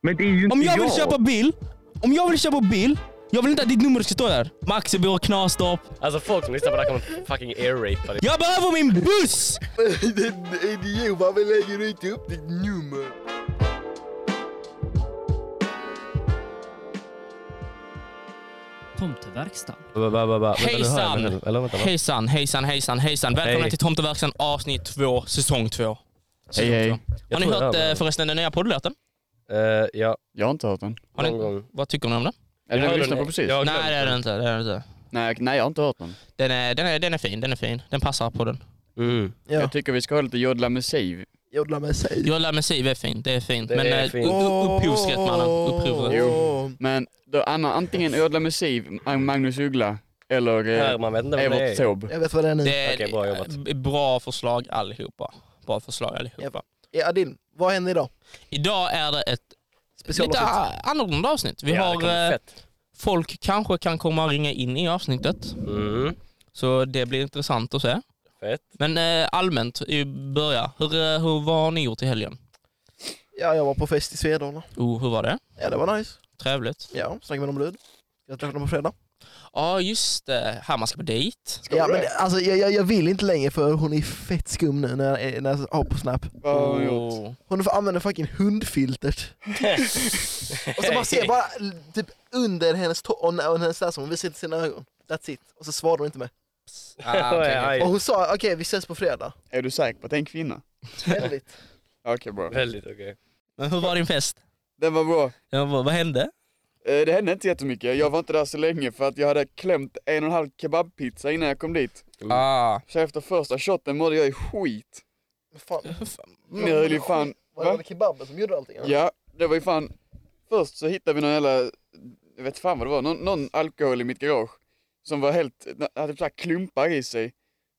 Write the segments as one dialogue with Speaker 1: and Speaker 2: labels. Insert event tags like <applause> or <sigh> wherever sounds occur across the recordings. Speaker 1: Men det är ju inte
Speaker 2: Om jag vill köpa bil, om jag vill köpa bil, jag vill inte att ditt nummer ska stå där. Maxibor, Knastorp.
Speaker 3: Alltså folk som lyssnar på det här kommer fucking air-rapa dig.
Speaker 2: Jag behöver min buss!
Speaker 4: Den idiot, varför lägger du inte upp ditt nummer?
Speaker 5: Tomteverkstan.
Speaker 3: Va, va, va, va. Vänta, nu hör jag,
Speaker 2: Hejsan!
Speaker 3: vänta nu. Eller vänta, va?
Speaker 2: Hejsan, hejsan, hejsan, hejsan. Välkomna
Speaker 3: Hej.
Speaker 2: till Tomteverkstan avsnitt 2, säsong 2.
Speaker 5: Hej, hej.
Speaker 2: Har
Speaker 3: Jag
Speaker 2: ni
Speaker 3: tror jag
Speaker 2: hört
Speaker 3: hör
Speaker 2: eh,
Speaker 3: mig.
Speaker 2: förresten den nya poddlåten?
Speaker 3: Eh, ja,
Speaker 5: Jag har inte hört den.
Speaker 2: Har
Speaker 3: någon
Speaker 2: ni,
Speaker 3: gång.
Speaker 2: vad tycker ni om den?
Speaker 3: Jag
Speaker 5: Är det den
Speaker 3: hörde
Speaker 5: vi lyssnade på
Speaker 3: den.
Speaker 5: precis?
Speaker 3: Jag- har glömt
Speaker 2: Nej det är den inte. Det är den, inte.
Speaker 5: Nej, nej, jag har inte hört den.
Speaker 2: Den, är, den, är, den är fin, den är fin. Den passar på den.
Speaker 3: Mm.
Speaker 1: Ja.
Speaker 5: Jag tycker vi ska ha lite jodla med Siv.
Speaker 1: Jodla med sig.
Speaker 2: Jag lär mig Siv är fint, det är fint.
Speaker 3: Det
Speaker 2: Men
Speaker 3: är
Speaker 2: eh,
Speaker 3: fint.
Speaker 2: u- u- upphovsrätt mannen, upphovsrätt.
Speaker 5: Jo. Men då, Anna, antingen jodla med Siv, Mag- Magnus Uggla, eller
Speaker 3: Här,
Speaker 5: eh,
Speaker 3: man vet inte vad det
Speaker 5: Evert
Speaker 3: är.
Speaker 5: Taube.
Speaker 1: Jag vet vad den är.
Speaker 2: Det är
Speaker 3: Okej, bra jobbat.
Speaker 2: b- bra förslag allihopa. Bra förslag allihopa.
Speaker 1: Ja, Adil, vad händer idag?
Speaker 2: Idag är det ett lite
Speaker 1: Specialavsnitt.
Speaker 2: a- annorlunda avsnitt. Vi
Speaker 3: Ja, det kommer
Speaker 2: har, eh,
Speaker 3: fett.
Speaker 2: folk kanske kan komma och ringa in i avsnittet.
Speaker 3: <laughs> Mm.
Speaker 2: Så det blir intressant att se.
Speaker 3: Fett.
Speaker 2: Men eh, allmänt, i början, hur, eh, hur, vad har ni gjort i helgen?
Speaker 1: Ja, jag var på fest i Svedala.
Speaker 2: Oh, hur var det?
Speaker 1: Ja, det var nice.
Speaker 2: Trevligt.
Speaker 1: Ja, snackade med dem brud. Jag träffade dem på fredag.
Speaker 2: Ja, just det. Här man ska på dejt.
Speaker 1: Ja, men alltså, jag, jag, jag vill inte längre för hon är fett skum nu när jag, när jag har på Snap.
Speaker 5: Vad har hon gjort?
Speaker 2: Oh.
Speaker 1: Hon får använda fucking hundfiltert. och så man ser bara typ under hennes tå och när- och hennes där som hon visar inte sina ögon. That's it. Och så svarar hon inte med.
Speaker 2: <laughs> Ah, okej, okej.
Speaker 1: Och hon sa okej vi ses på fredag.
Speaker 5: Är du säker på att det är en kvinna?
Speaker 1: Väldigt.
Speaker 5: Okej, bra.
Speaker 3: Väldigt okej.
Speaker 2: Men hur var din fest?
Speaker 5: Den var bra.
Speaker 2: Ja, vad, vad hände?
Speaker 5: Eh, Det hände inte jättemycket. Jag var inte där så länge för att jag hade klämt en och en halv kebabpizza innan jag kom dit.
Speaker 2: Ah.
Speaker 5: Så efter första shotten mådde jag i skit.
Speaker 1: Men fan,
Speaker 5: Ni höll ju fan...
Speaker 1: var det
Speaker 5: Va?
Speaker 1: alla kebaben som gjorde allting? eller?
Speaker 5: Ja, det var ju fan... Först så hittade vi någon jävla... Jag vet fan vad det var. Någon, någon alkohol i mitt garage. Som var helt... Hade typ så här klumpar i sig.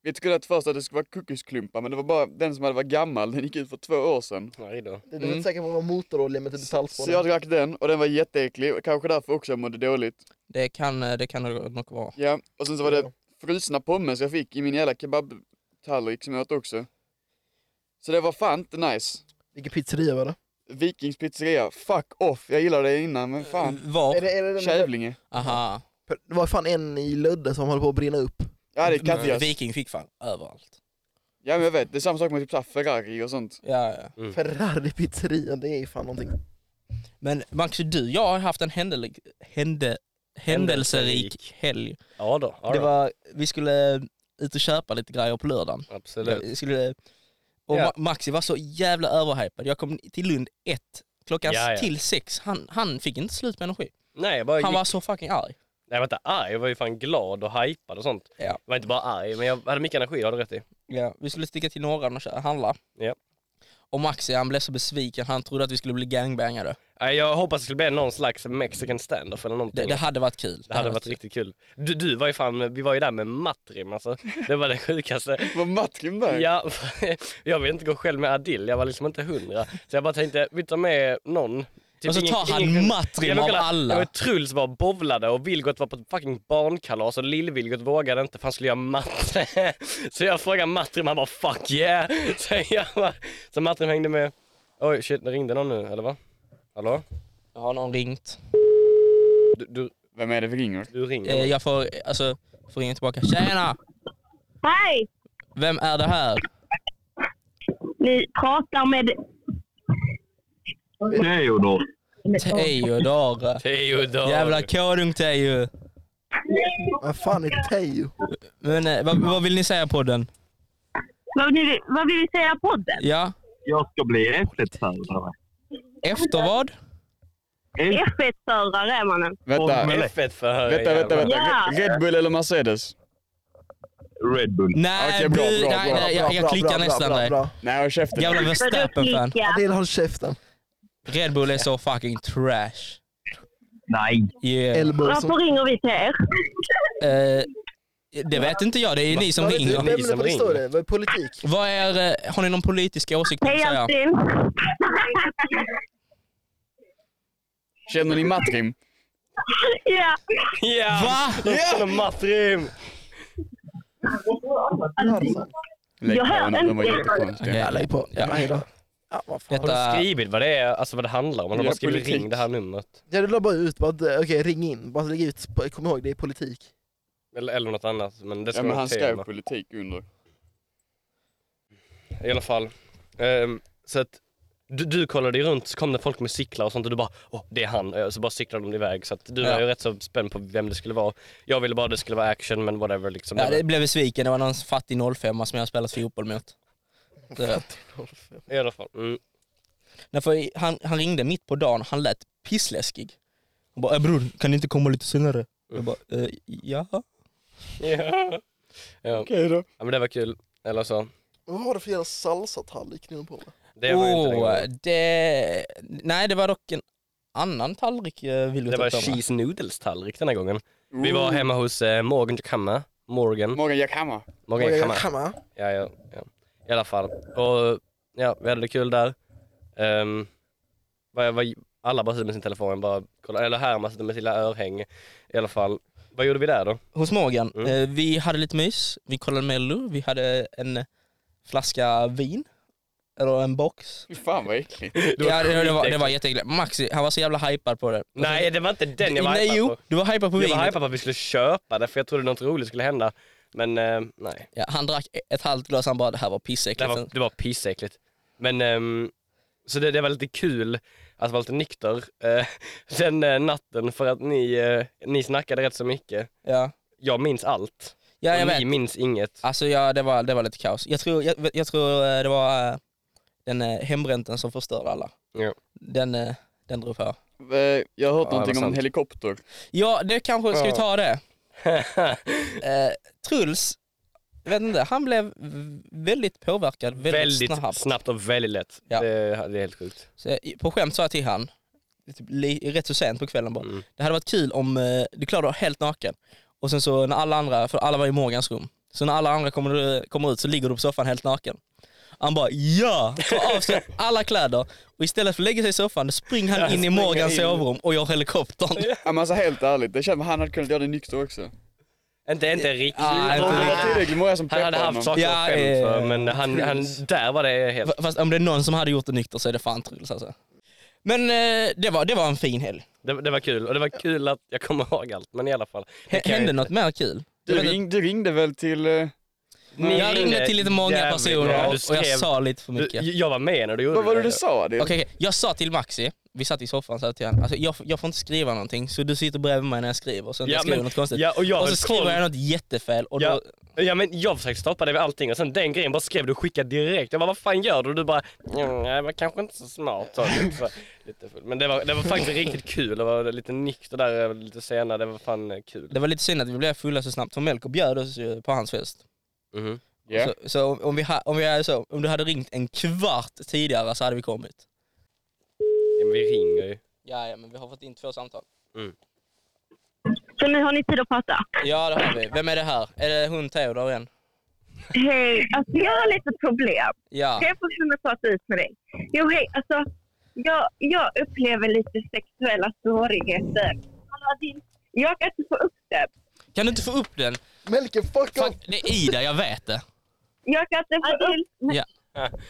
Speaker 5: Vi trodde att först att det skulle vara kokosklumpar men det var bara den som hade varit gammal. Den gick ut för två år sedan.
Speaker 3: Aj då.
Speaker 1: Du du är
Speaker 5: Mm.
Speaker 1: inte säker på att det var motorolja med typ
Speaker 5: Så jag
Speaker 1: saltspån?
Speaker 5: drack den och den var jätteäcklig. och Kanske därför också jag mådde dåligt.
Speaker 2: Det kan, eh, det kan nog vara.
Speaker 5: Ja, och sen så var det frusna pommes jag fick i min jävla kebabtallrik som jag åt också. Så det var fan inte nice.
Speaker 1: Vilken pizzeria var det?
Speaker 5: Vikings pizzeria, fuck off. Jag gillade det innan men fan.
Speaker 1: Är
Speaker 2: Var?
Speaker 1: det, är det den
Speaker 5: Kävlinge.
Speaker 2: Aha.
Speaker 1: Det var fan en i Lödde som höll på att brinna upp.
Speaker 5: Ja det är Kattias.
Speaker 2: Viking fick fan överallt.
Speaker 5: Ja men jag vet, det är samma sak med typ så här Ferrari och sånt. <laughs>
Speaker 2: Ja, ja.
Speaker 1: Ferrari pizzeria, det är ju fan någonting.
Speaker 2: Men Max, du, jag har haft en händel, hände, händelserik
Speaker 3: Händelserik.
Speaker 2: helg.
Speaker 3: Ja då. Ja
Speaker 2: Det
Speaker 3: då.
Speaker 2: var, vi skulle ut och köpa lite grejer på lördagen.
Speaker 3: Absolut.
Speaker 2: Vi skulle, och
Speaker 3: Ja.
Speaker 2: Ma- Maxi var så jävla överhypad. Jag kom till Lund ett, klockan
Speaker 3: Ja, ja.
Speaker 2: till sex. Han, han fick inte slut med energi.
Speaker 3: Nej, jag bara gick...
Speaker 2: Han var så fucking arg.
Speaker 3: Nej, jag var inte arg. Jag var ju fan glad och hypad och sånt.
Speaker 2: Ja.
Speaker 3: Jag var inte bara arg, men jag hade mycket energi, det har du rätt i.
Speaker 2: Ja, vi skulle sticka till Norran och kö- handla.
Speaker 3: Ja.
Speaker 2: Och Maxi han blev så besviken, han trodde att vi skulle bli gangbangade.
Speaker 3: Nej, Jag hoppas det skulle bli någon slags mexican standoff eller någonting.
Speaker 2: Det, det hade varit kul.
Speaker 3: Det hade varit riktigt kul. Du, du var ju fan, vi var ju där med Matrim alltså. Det var det sjukaste.
Speaker 5: Vad Matrim där.
Speaker 3: Ja, <laughs> jag vill inte gå själv med Adil, jag var liksom inte hundra. Så jag bara tänkte, vi tar med någon. Typ
Speaker 2: Och så
Speaker 3: ingen-
Speaker 2: tar han
Speaker 3: ingen-
Speaker 2: Matrim
Speaker 3: Ja, men
Speaker 2: av
Speaker 3: kolla,
Speaker 2: alla.
Speaker 3: ja, men Truls var bovlade och Vilgot var på ett fucking barnkalas och Lill-Vilgot vågade inte för han skulle göra matte. <laughs> Så jag frågade Matrim, han bara fuck yeah. <laughs> Så, jag bara, så Matrim hängde med. Oj shit, det ringde någon nu eller va? Hallå?
Speaker 2: Jag har någon ringt.
Speaker 3: Du, du,
Speaker 5: Vem är det vi ringer?
Speaker 3: du ringer?
Speaker 2: Eh, jag får, alltså, får ringa tillbaka. Tjena!
Speaker 6: Hej!
Speaker 2: Vem är det här?
Speaker 6: Ni pratar med...
Speaker 1: Theodor.
Speaker 2: Teodor.
Speaker 3: Theodor!
Speaker 2: Jävla konung Teo.
Speaker 1: Vad fan är Teo?
Speaker 2: Men eh, vad, vad vill ni säga på den?
Speaker 6: Vad, ni, vad vill vi säga podden?
Speaker 2: Ja?
Speaker 7: Jag ska bli F1-förare.
Speaker 2: Efter vad?
Speaker 6: F1-förare är mannen.
Speaker 5: Vänta,
Speaker 7: Formel-
Speaker 3: F1-förhör.
Speaker 5: vänta, vänta, vänta.
Speaker 6: Ja.
Speaker 5: Red Bull eller Mercedes?
Speaker 7: Red Bull.
Speaker 2: Nej,
Speaker 5: Okej, bra,
Speaker 2: du-
Speaker 5: bra,
Speaker 2: nej,
Speaker 5: bra,
Speaker 2: nej,
Speaker 1: Bra,
Speaker 2: jag, jag
Speaker 1: bra,
Speaker 2: klickar
Speaker 1: bra, bra,
Speaker 2: nästan
Speaker 1: bra,
Speaker 2: där.
Speaker 1: bra.
Speaker 5: Nej håll käften.
Speaker 2: Jävla Verstappen-fan.
Speaker 6: Ja.
Speaker 1: Adil håll käften.
Speaker 2: Red Bull är så fucking trash.
Speaker 7: Nej.
Speaker 2: Yeah.
Speaker 1: Elbow som
Speaker 6: Varför ringer vi till er?
Speaker 2: Eh, det vet inte jag, det är ni som
Speaker 1: Vad vet du,
Speaker 2: ringer.
Speaker 1: vem är det
Speaker 3: Ni som
Speaker 1: på
Speaker 3: ringer.
Speaker 1: historia? Vad är politik?
Speaker 2: Vad är, eh, har ni någon politisk åsikt?
Speaker 6: Hej
Speaker 2: säga?
Speaker 6: Antin!
Speaker 5: Känner ni Matrim?
Speaker 6: ja.
Speaker 3: Ja!
Speaker 2: Va?
Speaker 3: Ja! Matrim!
Speaker 1: Larsson.
Speaker 5: Lägg
Speaker 6: Jag
Speaker 5: på
Speaker 6: hör
Speaker 5: honom, de var
Speaker 6: inte.
Speaker 5: jättekonstiga.
Speaker 2: Okej.
Speaker 1: Ja, lägg på.
Speaker 2: Ja.
Speaker 1: Nej då. Ja, vad fan.
Speaker 2: Detta...
Speaker 3: Har du skrivit vad det är, alltså vad det handlar om? Har du
Speaker 5: Ja,
Speaker 3: bara skrivit
Speaker 5: politik.
Speaker 3: ring det här numret?
Speaker 1: Ja, du la bara ut, bara, att, eh, okej ring in, bara lägg ut, kom ihåg det är politik.
Speaker 3: Eller, eller något annat. Men det ska
Speaker 5: Ja, men
Speaker 3: vara
Speaker 5: han
Speaker 3: ett
Speaker 5: skrev
Speaker 3: tema.
Speaker 5: politik under.
Speaker 3: I alla fall. Ehm, så att du, du kollade ju runt så kom det folk med cyklar och sånt och du bara åh det är han. Eh, Så bara cyklade de iväg. Så att du
Speaker 2: Ja.
Speaker 3: var ju rätt så spänd på vem det skulle vara. Jag ville bara att det skulle vara action men whatever liksom.
Speaker 2: Ja,
Speaker 3: det...
Speaker 2: det blev besviken, det var någon fattig 05 som jag har spelat fotboll mot. Så,
Speaker 3: var- I alla fall. Mm. <laughs>
Speaker 2: nej, för han, han ringde mitt på dagen, han lät pissläskig. Han bara, "Eh, bror kan du inte komma lite senare? Jag bara, eh, ja.
Speaker 3: Ja. Ja.
Speaker 5: Okej då.
Speaker 3: ja men det var kul. Eller så.
Speaker 1: Vad var det för jävla salsatallrik ni höll på med?
Speaker 3: Det var inte
Speaker 2: Åh,
Speaker 3: det.
Speaker 2: det... Nej, det var dock en annan tallrik eh, vill
Speaker 3: Det
Speaker 2: jag
Speaker 3: var
Speaker 2: ta fram.
Speaker 3: cheese noodles tallrik den här gången. Vi var
Speaker 5: Mm.
Speaker 3: hemma hos eh, Morgan Jackhammer. Morgan.
Speaker 5: Morgan Jackhammar.
Speaker 3: Morgan
Speaker 1: Oj,
Speaker 3: Jackhammer.
Speaker 1: Jackhammar.
Speaker 3: Ja, ja, ja. I alla fall. Och ja, vi hade det kul där. Um, vad, vad, alla bara sitter med sin telefon, bara kolla. Eller Herman sitter med sina örhäng. I alla fall. Vad gjorde vi där då?
Speaker 2: Hos Morgan.
Speaker 3: Mm.
Speaker 2: Eh, vi hade lite mys, vi kollade Mello, vi hade en flaska vin. Eller en box.
Speaker 5: Fy fan vad äckligt.
Speaker 3: Det
Speaker 2: <laughs>
Speaker 3: var
Speaker 2: ja, det, det, var, det
Speaker 3: skitäckligt.
Speaker 2: var jätteäckligt. Maxi, han var så jävla hypad på det. Och så-
Speaker 3: Nej, det var inte den jag var
Speaker 2: Nej,
Speaker 3: hypad
Speaker 2: jo,
Speaker 3: på.
Speaker 2: du var hypad på
Speaker 3: Jag
Speaker 2: vinet.
Speaker 3: var hypad på att vi skulle köpa det för jag trodde något roligt skulle hända. Men eh, nej,
Speaker 2: Ja, han drack ett halvt glas, han bara det här var
Speaker 3: det
Speaker 2: pissäckligt.
Speaker 3: var, det var pissäckligt. Men ehm, så det, det var lite kul att vara lite nykter eh, <laughs> den eh, natten för att ni, eh, ni snackade rätt så mycket.
Speaker 2: Ja.
Speaker 3: Jag minns allt.
Speaker 2: ja, jag
Speaker 3: Och
Speaker 2: vet.
Speaker 3: Ni minns inget.
Speaker 2: Alltså ja, det var, det var lite kaos. Jag tror, jag, jag tror eh, det var eh, den eh, hembränten som förstörde alla.
Speaker 3: Ja.
Speaker 2: Den, eh, den drog på.
Speaker 5: Eh, Jag har hört
Speaker 3: Ja,
Speaker 5: någonting
Speaker 3: vad
Speaker 5: om en
Speaker 3: sant.
Speaker 5: helikopter.
Speaker 2: Ja, det kanske, ska vi
Speaker 3: Ja.
Speaker 2: ta
Speaker 3: <laughs>
Speaker 2: det? Eh, Truls, jag vet inte, han blev v- väldigt påverkad väldigt,
Speaker 3: väldigt
Speaker 2: snabbt.
Speaker 3: snabbt. och väldigt lätt.
Speaker 2: Ja.
Speaker 3: Det, det är helt sjukt.
Speaker 2: Så jag, på skämt sa jag till han, typ, li, rätt så sent på kvällen bara,
Speaker 3: Mm.
Speaker 2: det hade varit kul om eh, du klarade dig helt naken. Och sen så när alla andra, för alla var i Morgans rum, så när alla andra kommer, eh, kommer ut så ligger du på soffan helt naken. Han bara ja! Tar av sig alla kläder och istället för att lägga sig i soffan då springer han in i
Speaker 5: springer
Speaker 2: Morgans
Speaker 5: in.
Speaker 2: sovrum och gör helikoptern.
Speaker 5: Ja, men alltså helt ärligt, det känns som att han hade kunnat göra det nykter
Speaker 3: Äh,
Speaker 5: också.
Speaker 3: Inte, inte riktigt.
Speaker 2: Ah, inte
Speaker 5: Om det var
Speaker 2: riktigt.
Speaker 5: tillräckligt många som
Speaker 3: äh, Han hade
Speaker 5: peppade honom.
Speaker 3: haft saker
Speaker 2: Ja,
Speaker 3: att skämmas för
Speaker 2: eh,
Speaker 3: men han, han, där var det helt...
Speaker 2: F- Fast om det är någon som hade gjort det nykter så är det fan Truls alltså. Men eh, det, var, det var en fin helg.
Speaker 3: Det, det var kul. Och det var kul att jag kommer ihåg allt. Men i alla fall.
Speaker 2: H-
Speaker 3: kan jag
Speaker 2: hände
Speaker 3: inte.
Speaker 2: något mer kul?
Speaker 5: Du,
Speaker 2: Jag vet
Speaker 5: ring, du ringde väl till... eh,
Speaker 3: Ni
Speaker 2: Jag ringde till lite många
Speaker 3: jävligt
Speaker 2: personer
Speaker 3: bra.
Speaker 2: och
Speaker 3: Du
Speaker 2: och jag
Speaker 3: skrev-
Speaker 2: sa lite för
Speaker 3: Du,
Speaker 2: mycket.
Speaker 3: jag var med när du gjorde
Speaker 5: Vad var det
Speaker 3: det.
Speaker 5: du sa Adil?
Speaker 2: Okej, okej. jag sa till Maxi, vi satt i soffan så till honom, alltså, jag, får- jag får inte skriva någonting så du sitter bredvid mig när jag skriver så inte
Speaker 3: Ja,
Speaker 2: jag skriver
Speaker 3: men-
Speaker 2: något konstigt.
Speaker 3: Ja, och jag
Speaker 2: och
Speaker 3: höll
Speaker 2: så skriver
Speaker 3: koll.
Speaker 2: jag något jättefel och
Speaker 3: Ja.
Speaker 2: då,
Speaker 3: Ja, men jag försökte stoppa dig vid allting och sen den grejen bara skrev du och skickade direkt. Jag bara vad fan gör du? Och du bara "Mm, nej, det var kanske inte så smart. Så, lite, så, lite full. Men det var, det var faktiskt riktigt kul. Det var lite nykter där eh, lite senare. Det var fan eh, kul.
Speaker 2: det var lite synd att vi blev fulla så snabbt för Melker bjöd oss ju på hans fest.
Speaker 3: Mhm.
Speaker 5: Ja.
Speaker 2: Så, så om, om, vi ha, om, vi hade så, om du hade ringt en kvart tidigare så hade vi kommit.
Speaker 3: Ja, men vi ringer ju.
Speaker 2: Ja, ja men vi har fått in två samtal.
Speaker 6: Så nu har ni tid att prata.
Speaker 2: Ja det har vi. Vem är det här? Är det hon Theodor igen?
Speaker 6: Hej, alltså jag har lite problem.
Speaker 2: Ja.
Speaker 6: Ska jag få kunna prata ut med dig? Jo, hej, alltså jag, jag upplever lite sexuella svårigheter. Aladdin, Jag kan inte få upp det.
Speaker 2: Kan du inte få upp den?
Speaker 1: Melker, fuck off!
Speaker 2: Fuck, det är Ida, jag vet det.
Speaker 6: Jag kan inte få upp
Speaker 2: Ja.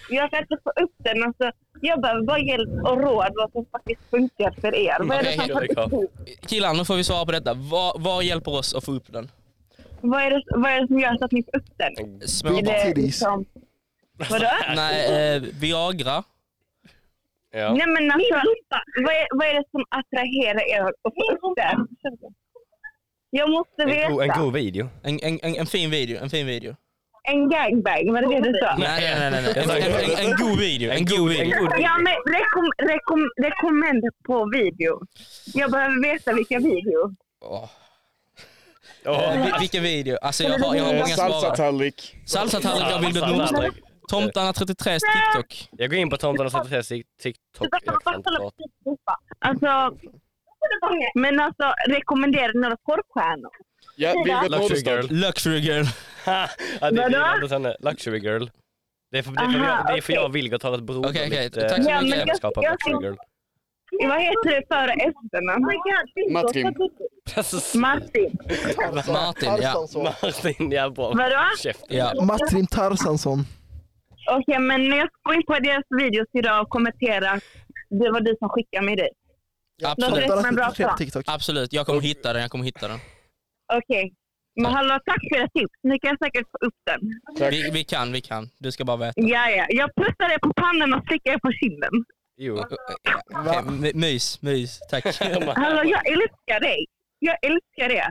Speaker 6: Jag kan inte få upp den. Alltså, jag behöver bara hjälp och råd vad som faktiskt funkar för er. Vad är det som
Speaker 3: Okej,
Speaker 6: faktiskt funkar?
Speaker 2: Killar, nu får vi svara på detta. Vad vad hjälper oss att få upp den?
Speaker 6: Vad är det, vad är det som gör så att ni får upp den?
Speaker 2: Små
Speaker 6: Är
Speaker 2: barn.
Speaker 6: det
Speaker 1: titties.
Speaker 6: liksom... Vadå?
Speaker 2: Nej, eh, Viagra.
Speaker 3: Ja.
Speaker 6: Nej men alltså, vad är, vad är det som attraherar er att få upp den? Jag måste veta.
Speaker 3: En, god, en god video.
Speaker 2: En, en, en, en fin video, en fin video.
Speaker 6: En gangbang, var det det du sa?
Speaker 2: Nej, nej, nej. nej, nej. En, en, en, en god video, en god
Speaker 3: En
Speaker 2: video.
Speaker 3: god video.
Speaker 6: Ja, men rekom, rekom, rekommend på video. Jag behöver veta vilka video.
Speaker 2: Åh.
Speaker 3: Åh,
Speaker 2: Eh, vil- Vilken video? Alltså jag har, jag har
Speaker 5: Eh,
Speaker 2: många svarar.
Speaker 5: Salsatallrik.
Speaker 2: Salsatallrik av Vilgot
Speaker 3: Salsa,
Speaker 2: Nordström.
Speaker 3: tallrik.
Speaker 2: Tomtarna 33s TikTok.
Speaker 3: alltså, Jag går in på Tomten och sätter till sig TikTok. Jag kan inte prata.
Speaker 6: Alltså, men alltså rekommendera några porrstjärnor.
Speaker 5: Ja, Vilgot
Speaker 3: Luxury
Speaker 5: Nordström.
Speaker 3: girl.
Speaker 2: Luxury girl.
Speaker 3: Ha, <laughs> ja, det är
Speaker 6: Vadå?
Speaker 3: Vilgot och sen Luxury girl. Det är för, det är för,
Speaker 6: Aha,
Speaker 3: jag, det är för
Speaker 6: okej.
Speaker 3: jag och Vilgot har ett broderligt
Speaker 2: Okej, okej,
Speaker 3: eh,
Speaker 2: tack så
Speaker 6: Ja, mycket. men jag-
Speaker 3: ävenskap av
Speaker 6: jag-
Speaker 3: Luxury girl. <laughs>
Speaker 6: Vad heter det före efternamn?
Speaker 5: Matrim.
Speaker 3: Alltså,
Speaker 6: Martin.
Speaker 2: Martin, ja.
Speaker 1: Tarsansson.
Speaker 3: Martin, ja bra.
Speaker 6: Vadå?
Speaker 3: Käften.
Speaker 2: Ja.
Speaker 1: Matrim Tarsansson.
Speaker 6: Okej, men jag ska gå in på deras videos idag och kommentera att det var du som skickade mig dit.
Speaker 2: Absolut.
Speaker 6: det är en bra plan.
Speaker 1: TikTok.
Speaker 2: Absolut, jag kommer hitta den, jag kommer hitta den.
Speaker 6: Okej. Men hallå, tack för era tips. Ni kan säkert få upp den.
Speaker 5: Tack.
Speaker 2: Vi, vi kan, vi kan. Du ska bara veta.
Speaker 6: Ja, ja. Jag pussar er på pannan och slickar er på kinden.
Speaker 3: Jo.
Speaker 2: Okay, my- mys, mys. Tack.
Speaker 6: Hallå, jag älskar dig. Jag älskar er.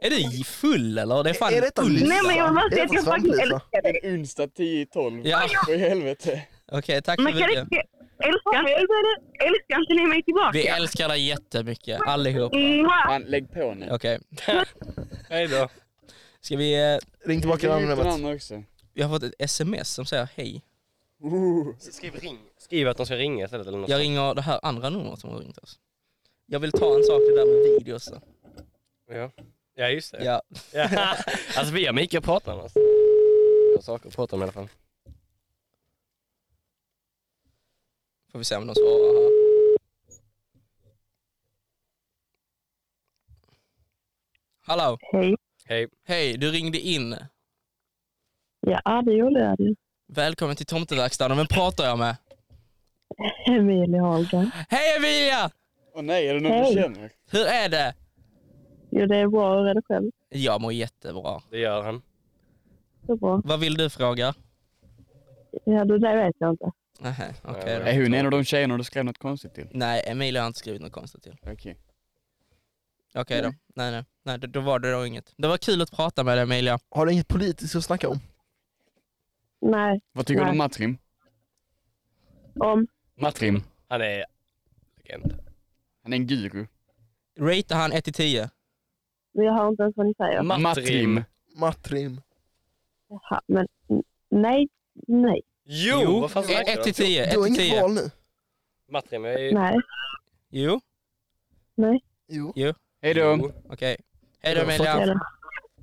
Speaker 2: Är du full eller? Det är fan
Speaker 1: Är detta
Speaker 2: onsdag.
Speaker 1: Lisa?
Speaker 6: Nej, men jag måste
Speaker 1: Är det
Speaker 6: säga att jag
Speaker 1: från
Speaker 6: faktiskt
Speaker 1: Svamplysa?
Speaker 6: älskar dig.
Speaker 5: En onsdag 10-12.
Speaker 2: Ja,
Speaker 5: Vad i helvete.
Speaker 2: okej tack så
Speaker 6: Men kan
Speaker 2: mycket.
Speaker 6: inte, älskar, inte- älskar inte ni mig tillbaka?
Speaker 2: Vi älskar dig jättemycket, allihop.
Speaker 6: Mwah!
Speaker 5: Man, lägg på nu.
Speaker 2: Okej,
Speaker 3: Hej då.
Speaker 2: ska vi... eh,
Speaker 1: Ring tillbaka numret.
Speaker 5: namn också.
Speaker 2: Jag har fått ett sms som säger hej.
Speaker 5: Ooh.
Speaker 3: Skriv ring. Skriv att de ska ringa istället eller något.
Speaker 2: Jag ringer det här andra numret som har ringt oss. Jag vill ta en sak till det där med video också.
Speaker 3: Ja. ja, just det.
Speaker 2: Ja.
Speaker 3: Ja. <laughs> alltså vi har mycket att prata om. Alltså. Jag har saker att prata om i alla fall.
Speaker 2: Får vi se om de svarar här. Hallå?
Speaker 6: Hej.
Speaker 3: Hej.
Speaker 2: Hej, du ringde in.
Speaker 6: Ja, ah, det gjorde jag ju.
Speaker 2: Välkommen till tomteverkstaden. Vem pratar jag med?
Speaker 6: Emilie Holger.
Speaker 2: Hej Emilia!
Speaker 5: Åh nej, är det någon
Speaker 6: Hej.
Speaker 5: du känner?
Speaker 2: Hur är det?
Speaker 6: Jo, det är bra. Hur är det själv?
Speaker 2: Jag mår jättebra.
Speaker 3: Det gör han.
Speaker 6: Så bra.
Speaker 2: Vad vill du fråga?
Speaker 6: Ja, det där vet jag inte.
Speaker 2: Nähä, okej då.
Speaker 5: Är hon en av de tjejerna du skrev något konstigt till?
Speaker 2: Nej, Emilia har inte skrivit något konstigt till.
Speaker 5: Okej.
Speaker 2: Okej då. Nej, nej. nej då, då var det då inget. Det var kul att prata med dig Emilia.
Speaker 1: Har du inget politiskt att snacka om?
Speaker 6: Nej,
Speaker 5: Vad tycker du om
Speaker 6: Nej.
Speaker 5: Matrim?
Speaker 6: om.
Speaker 5: Matrim.
Speaker 3: Han är legend.
Speaker 5: Han är en guru.
Speaker 2: Ratea han 1 till 10?
Speaker 6: Men jag har inte ens vad ni
Speaker 1: Mm.
Speaker 6: säger.
Speaker 3: Matrim.
Speaker 1: Matrim.
Speaker 6: Jaha, men n- nej, nej,
Speaker 3: Jo! Vad fan snackar
Speaker 2: 1
Speaker 3: du
Speaker 2: till
Speaker 3: om?
Speaker 2: 10. 1
Speaker 1: Du har
Speaker 2: till
Speaker 1: inget
Speaker 2: 10.
Speaker 1: val nu?
Speaker 3: Matrim, jag är <laughs> ju...
Speaker 6: nej,
Speaker 2: Jo,
Speaker 6: nej.
Speaker 1: Jo.
Speaker 5: Hej då.
Speaker 2: okej. Hej då
Speaker 1: Jag har fått
Speaker 2: Emilia.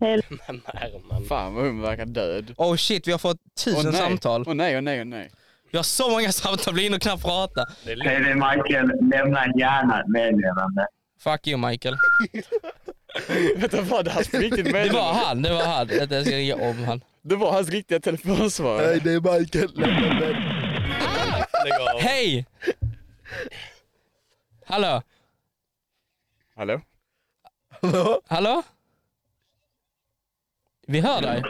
Speaker 6: Eller,
Speaker 3: Men Närman.
Speaker 5: Fan vad hon verkar död.
Speaker 2: Oh shit, vi har fått
Speaker 5: Åh
Speaker 2: tusen
Speaker 5: nej.
Speaker 2: samtal.
Speaker 5: Åh nej, åh nej, åh nej.
Speaker 2: Vi har så många <laughs> samtal, vi hinner knappt prata.
Speaker 3: Det är lugnt.
Speaker 7: Hej, det är Michael. Lämna gärna ett meddelande.
Speaker 2: Fuck you Michael.
Speaker 5: <laughs> Vänta, var det hans riktigt
Speaker 2: Det
Speaker 5: meddelande?
Speaker 2: var han, det var han. Vänta, Jag ska ringa om han.
Speaker 5: Det var hans riktiga telefonsvar.
Speaker 1: Nej, det är Michael.
Speaker 3: Lägg av.
Speaker 2: Hej! Hallå?
Speaker 5: Hallå?
Speaker 2: Hallå? Vi hör dig.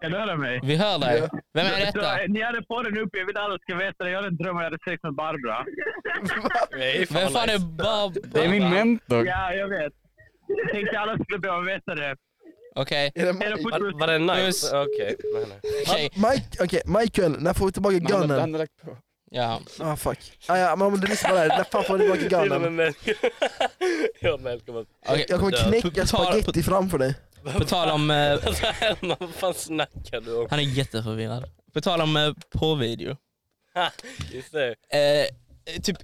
Speaker 7: Kan du höra mig?
Speaker 2: Vi hör dig. Vem är detta?
Speaker 7: Så, eh, Ni hade podden uppe. Jag vill alla ska veta det. Jag hade en dröm om jag hade sex med Barbara.
Speaker 3: Nej, fan
Speaker 2: Vem fan
Speaker 3: nice.
Speaker 2: är Bob?
Speaker 5: Det är min mentor.
Speaker 7: Ja, jag vet. Jag tänkte alla skulle behöva veta det.
Speaker 2: Okej,
Speaker 1: Är det
Speaker 7: Hej då,
Speaker 1: Mike?
Speaker 7: puss, puss.
Speaker 3: Var, var det
Speaker 2: Puss.
Speaker 3: nice? Okej. Nej, nej.
Speaker 2: okej.
Speaker 1: Mike? Okej, Michael, när får vi tillbaka
Speaker 5: Men Han, hade- han
Speaker 1: gunnen?
Speaker 5: har lagt på.
Speaker 2: Ja.
Speaker 1: Ah fuck. Ah, ja, men om du lyssnar på det här, när fan får vi tillbaka
Speaker 3: Till och med <laughs>
Speaker 1: gunnen?
Speaker 3: människor. Jag välkomnar.
Speaker 2: Okej,
Speaker 1: Jag
Speaker 3: dö.
Speaker 1: kommer knäcka
Speaker 2: På tal-
Speaker 1: spagetti framför dig.
Speaker 2: På tal om... eh,
Speaker 3: Alltså Herman, vad fan snackar du om? <laughs>
Speaker 2: han är jätteförvirrad. På tal om eh, porrvideo.
Speaker 3: Just det.
Speaker 2: Eh, typ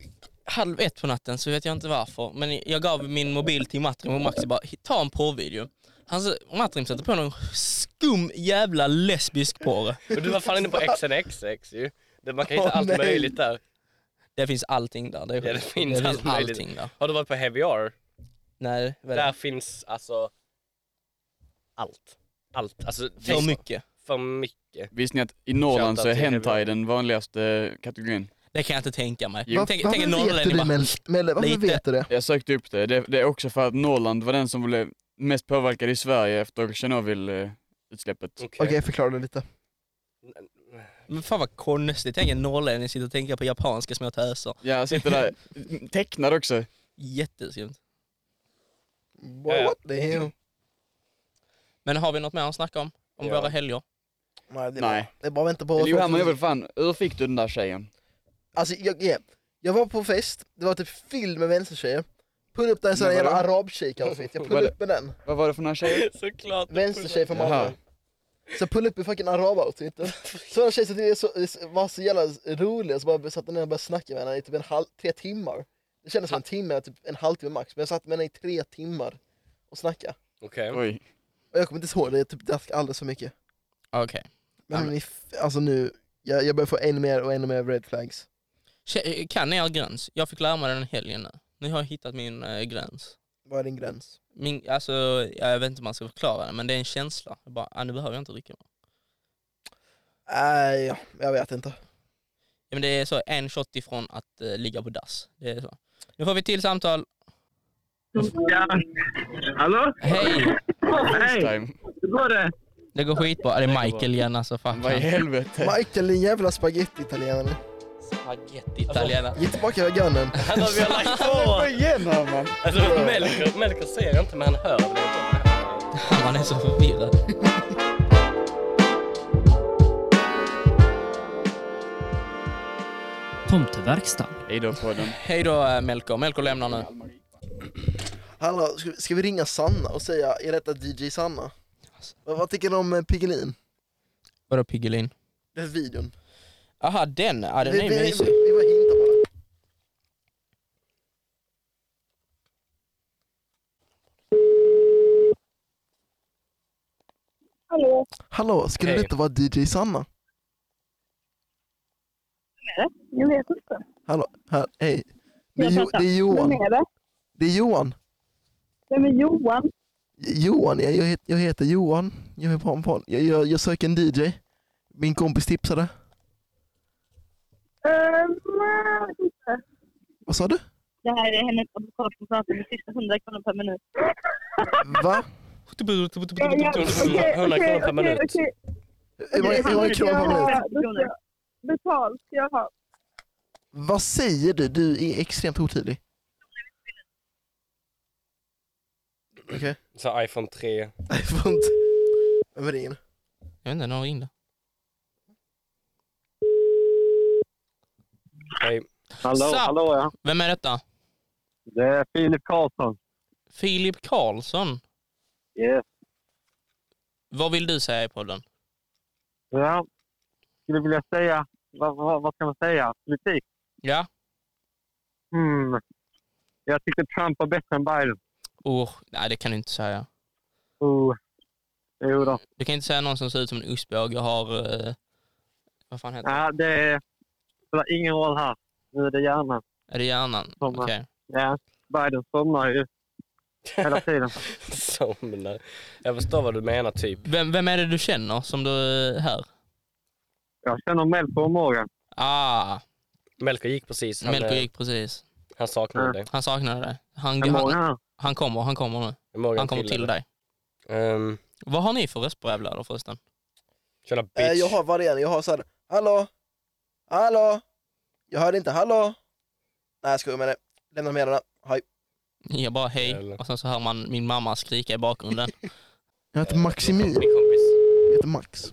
Speaker 2: halv ett på natten så vet jag inte varför. Men jag gav min mobil till Matrim och Maxi bara ta en porrvideo. Han, sa- Matrim satte på någon skum jävla lesbisk porr.
Speaker 3: Men du var fan inne på XNXX ju. Det- Man kan hitta
Speaker 1: Åh,
Speaker 3: allt
Speaker 1: nej.
Speaker 3: möjligt där.
Speaker 2: Det finns allting där. Det, är
Speaker 3: Ja, det
Speaker 2: sjukt.
Speaker 3: finns allt möjligt.
Speaker 2: allting där.
Speaker 3: Har du varit på Heavy R?
Speaker 2: Nej, vad är
Speaker 3: Där
Speaker 2: det?
Speaker 3: finns alltså allt. Allt. Alltså,
Speaker 2: För mycket.
Speaker 3: För mycket.
Speaker 5: Visste ni att i Norrland så är
Speaker 3: Shoutout till
Speaker 5: hentai den vanligaste kategorin?
Speaker 2: Det kan jag inte tänka mig.
Speaker 5: Jo.
Speaker 2: Tänk, tänk en
Speaker 1: Varför vet du
Speaker 2: norrlänning
Speaker 1: det
Speaker 2: bara...
Speaker 1: Mel- Melle? Varför
Speaker 2: Lite.
Speaker 1: vet du det?
Speaker 5: Jag sökte upp det. det. Det är också för att Norrland var den som blev mest påverkad i Sverige efter Tjernobyl-utsläppet.
Speaker 1: Okej, förklara det lite.
Speaker 2: Men fan vad konstigt. Tänk en norrlänning sitter och tänker på japanska små töser.
Speaker 5: Jag sitter där tecknad <laughs> också.
Speaker 2: Jätteskumt.
Speaker 3: Ja, ja.
Speaker 1: What the hell?
Speaker 2: Men har vi något mer att snacka om? Om
Speaker 3: Ja.
Speaker 2: våra helger?
Speaker 1: Nej, det
Speaker 5: Nej.
Speaker 1: är, Bara, det är bara att vänta på...
Speaker 5: Jo, men jag vill fan, hur fick du den där tjejen?
Speaker 1: Alltså, jag, ja. jag var på fest, det var typ fylld med vänstertjejer. Pull upp den sån här
Speaker 5: Men vadå?
Speaker 1: jävla arabshake-outfit, jag
Speaker 5: Vad
Speaker 1: pull
Speaker 5: är
Speaker 1: upp med den.
Speaker 5: Vad var det för några <laughs> tjejer?
Speaker 3: <laughs> Såklart.
Speaker 1: Vänstertjej från
Speaker 5: Jaha.
Speaker 1: Malmö. Så pull upp i fucking arab-outfit. Så en tjej som är så, var så jävla rolig, så bara satt jag ner och började snacka med henne i typ en halv, tre timmar. Det kändes som en timme, typ en halvtimme max, men jag satt med henne i tre timmar och snackade.
Speaker 3: Okej.
Speaker 5: Oj.
Speaker 1: Och jag kommer inte ihåg det, jag typ drack alldeles för mycket.
Speaker 2: Okej.
Speaker 1: Men,
Speaker 2: Ja,
Speaker 1: ni f- alltså nu, jag, jag börjar få ännu mer och ännu mer red flags.
Speaker 2: Tje- eh, Kan ni er gräns? Jag fick lära mig den i helgen nu. Nu har jag hittat min eh, gräns.
Speaker 1: Vad är din gräns?
Speaker 2: Min, alltså, ja, jag vet inte hur man ska förklara det, men det är en känsla. Jag bara, ah, nu behöver jag inte rycka mig.
Speaker 1: Nej, Äh, ja, jag vet inte.
Speaker 2: Ja, men det är så en shot ifrån att eh, ligga på dass. Det är så. Nu får vi till samtal.
Speaker 7: Ja. Hallå?
Speaker 2: Hej!
Speaker 7: Hej,
Speaker 5: Time.
Speaker 7: hur går det?
Speaker 2: Det går skitbra. Det är Michael igen alltså. Fuck.
Speaker 5: Vad i helvete?
Speaker 1: Michael din jävla spagetti-italienare.
Speaker 2: Spagetti-italienare.
Speaker 1: Ge tillbaka gunnen.
Speaker 3: Alltså vi har lagt på.
Speaker 1: <laughs>
Speaker 5: Vad igen Herman?
Speaker 3: Alltså Melker, Melker ser inte men han hör väl inte.
Speaker 2: Han är så förvirrad.
Speaker 8: Kom till verkstaden.
Speaker 5: Hej då podden.
Speaker 2: Hej då eh, Melker. Melker lämnar nu.
Speaker 1: Hallå, ska, vi- ska vi ringa Sanna och säga, är detta DJ Sanna? Vad, vad tycker du om eh, Piggelin?
Speaker 2: Vadå Piggelin?
Speaker 1: Den här videon.
Speaker 2: Aha den. Ja den
Speaker 1: vi,
Speaker 2: är ju
Speaker 1: vi, vi,
Speaker 2: mysig.
Speaker 1: vi bara hintar bara.
Speaker 6: Hallå?
Speaker 1: Hallå, skulle
Speaker 3: Hej.
Speaker 1: det inte vara DJ Sanna?
Speaker 6: Jag vet inte.
Speaker 1: Hallå, här, hej. Det är,
Speaker 6: Jag
Speaker 1: jo,
Speaker 6: pratar.
Speaker 1: det är
Speaker 6: Vem
Speaker 1: Johan.
Speaker 6: är det?
Speaker 1: Det är Johan.
Speaker 6: Vem är Johan?
Speaker 1: Johan, jag, jag, het- jag heter Johan. Jag, är på en podd. jag, jag, jag söker en DJ. Min kompis tipsade.
Speaker 6: Uh, nej, inte.
Speaker 1: Vad sa <laughs> du?
Speaker 6: Det här är hennes advokat som pratar med sista 100 kronor per minut.
Speaker 1: Va?
Speaker 6: okej,
Speaker 3: 100 kronor per
Speaker 6: okej,
Speaker 3: minut.
Speaker 6: okej.
Speaker 1: Hur många, hur många kronor har <laughs> du?
Speaker 6: Betalt ska jag ha.
Speaker 1: Vad säger du? Du är extremt otydlig. Okej.
Speaker 3: Så iPhone 3.
Speaker 1: Nej, får inte. Vem ringer?
Speaker 2: Jag vet inte, någon ringde.
Speaker 3: Hej.
Speaker 7: Hallå,
Speaker 2: Så.
Speaker 7: hallå ja.
Speaker 2: Vem är detta?
Speaker 7: Det är Filip Karlsson.
Speaker 2: Filip Karlsson.
Speaker 7: Yes.
Speaker 2: Vad vill du säga i podden?
Speaker 7: Ja. Skulle vilja säga, vad, vad, vad ska man säga? Politik?
Speaker 2: Ja?
Speaker 7: Hmm. Jag tyckte Trump var bättre än Biden.
Speaker 2: Oh, nej det kan du inte säga.
Speaker 7: Oh. Jo då.
Speaker 2: Du kan inte säga någon som ser ut som en ostbåge och har... eh, vad fan heter det?
Speaker 7: Ja, det är- spelar ingen roll här. Nu är det hjärnan.
Speaker 2: Är det hjärnan?
Speaker 7: Sommar.
Speaker 2: Okej.
Speaker 7: Ja. Biden somnar ju hela tiden.
Speaker 3: <laughs> Somnar. Jag förstår vad du menar typ.
Speaker 2: Vem, vem är det du känner som du eh, är här?
Speaker 7: Jag känner Melker och Morgan.
Speaker 2: Ah,
Speaker 3: Melker gick precis. Han,
Speaker 2: Melker
Speaker 3: eh,
Speaker 2: giig precis.
Speaker 3: han saknade
Speaker 7: Ja.
Speaker 3: dig.
Speaker 2: Han saknade dig. Han,
Speaker 7: Är Morgan
Speaker 2: han,
Speaker 7: här?
Speaker 2: han kommer, han kommer nu.
Speaker 3: Morgan
Speaker 2: Han kommer till dig.
Speaker 3: Um,
Speaker 2: Vad har ni för röstbrevlådor förresten?
Speaker 3: Tjena bitch.
Speaker 1: Eh, jag har varierande. Jag har så här, hallå? Hallå? Jag hörde inte, hallå? Nej, jag skojar med det. Lämna med den. Hej.
Speaker 2: Jag bara hej
Speaker 3: Eller?
Speaker 2: och sen så hör man min mamma skrika i bakgrunden.
Speaker 1: Jag heter Maximin.
Speaker 3: Min kompis.
Speaker 1: Jag heter Max.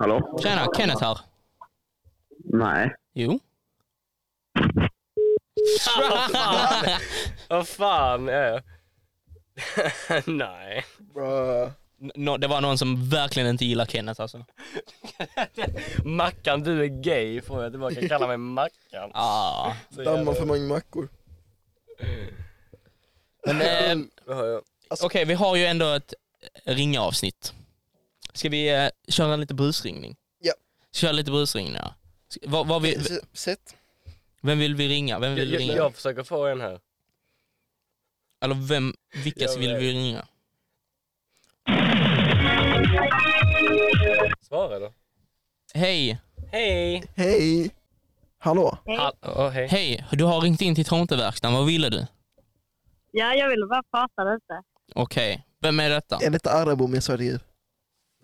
Speaker 7: Hallå?
Speaker 2: Tjena, Kenneth här.
Speaker 7: Nej.
Speaker 2: Jo.
Speaker 3: Vad fan är jag? <laughs> Nej.
Speaker 1: Bruh.
Speaker 2: <laughs> Nå- det var någon som verkligen inte gillar Kenneth alltså.
Speaker 3: Mackan du är gay får jag tillbaka. Kalla mig Mackan.
Speaker 2: Ah.
Speaker 3: Så jävla-
Speaker 1: Dammar för många mackor.
Speaker 2: Men, eh,
Speaker 3: Vad har jag?
Speaker 2: Okej, vi har ju ändå ett ringavsnitt. Ska vi eh, köra lite busringning?
Speaker 1: Ja.
Speaker 2: Köra lite busringningar. Ska- Vad, vad vi,
Speaker 1: S- Sätt.
Speaker 2: vem vill vi ringa? Vem
Speaker 3: Jag,
Speaker 2: vill vi
Speaker 3: jag,
Speaker 2: ringa?
Speaker 3: jag försöker få en här.
Speaker 2: Eller vem, vilka
Speaker 3: Jag
Speaker 2: vill
Speaker 3: vet.
Speaker 2: vi ringa?
Speaker 3: Svara då.
Speaker 2: Hej!
Speaker 3: Hej!
Speaker 1: Hej. Hallå?
Speaker 3: Hall- Åh, hej.
Speaker 2: Hej! Du har ringt in till Tomteverkstan, vad ville du?
Speaker 6: Ja, jag ville bara prata lite.
Speaker 2: Okej, vem är detta?
Speaker 1: Är det inte Arabo med svart ljud?